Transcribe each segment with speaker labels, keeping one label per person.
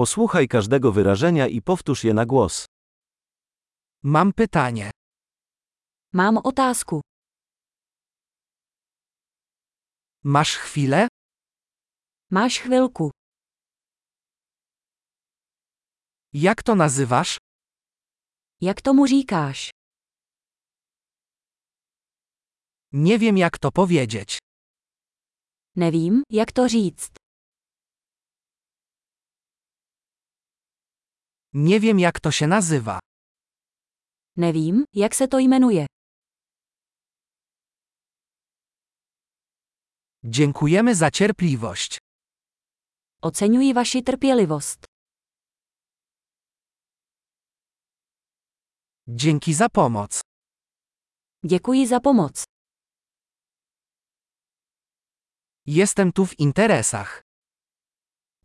Speaker 1: Posłuchaj każdego wyrażenia i powtórz je na głos.
Speaker 2: Mam pytanie.
Speaker 3: Mám otázku.
Speaker 2: Masz chwilę?
Speaker 3: Máš chvilku.
Speaker 2: Jak to nazywasz?
Speaker 3: Jak tomu říkáš?
Speaker 2: Nie wiem jak to powiedzieć.
Speaker 3: Nevím, jak to říct.
Speaker 2: Nie wiem jak to się nazywa.
Speaker 3: Nevím, jak se to jmenuje.
Speaker 2: Dziękujemy za cierpliwość.
Speaker 3: Oceňuji vaši trpělivost.
Speaker 2: Dzięki za pomoc.
Speaker 3: Děkuji za pomoc.
Speaker 2: Jestem tu w interesach.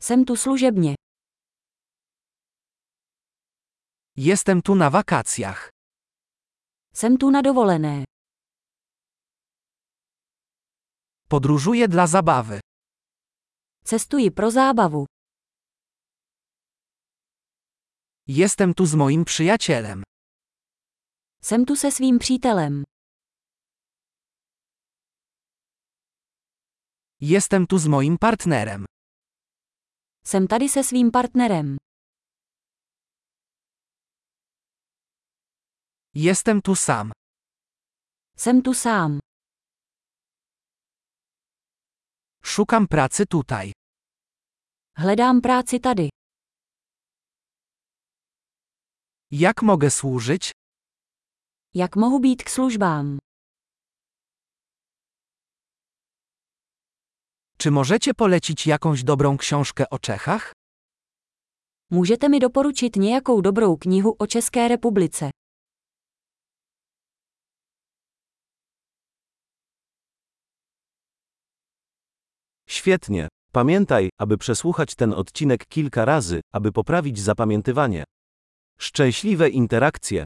Speaker 3: Jsem tu služebně.
Speaker 2: Jestem tu na wakacjach.
Speaker 3: Jsem tu na dovolené.
Speaker 2: Podróżuję dla zabawy.
Speaker 3: Cestuji pro zábavu.
Speaker 2: Jestem tu z moim przyjacielem.
Speaker 3: Jsem tu se svým přítelem.
Speaker 2: Jestem tu z moim partnerem.
Speaker 3: Jsem tady se svým partnerem.
Speaker 2: Jestem tu sam.
Speaker 3: Jsem tu sám.
Speaker 2: Szukam pracy tutaj.
Speaker 3: Hledám práci tady.
Speaker 2: Jak mogę służyć?
Speaker 3: Jak mohu být k službám?
Speaker 2: Czy możecie polecić jakąś dobrą książkę o Czechach?
Speaker 3: Můžete mi doporučit nějakou dobrou knihu o České republice.
Speaker 1: Świetnie. Pamiętaj, aby przesłuchać ten odcinek kilka razy, aby poprawić zapamiętywanie. Szczęśliwe interakcje.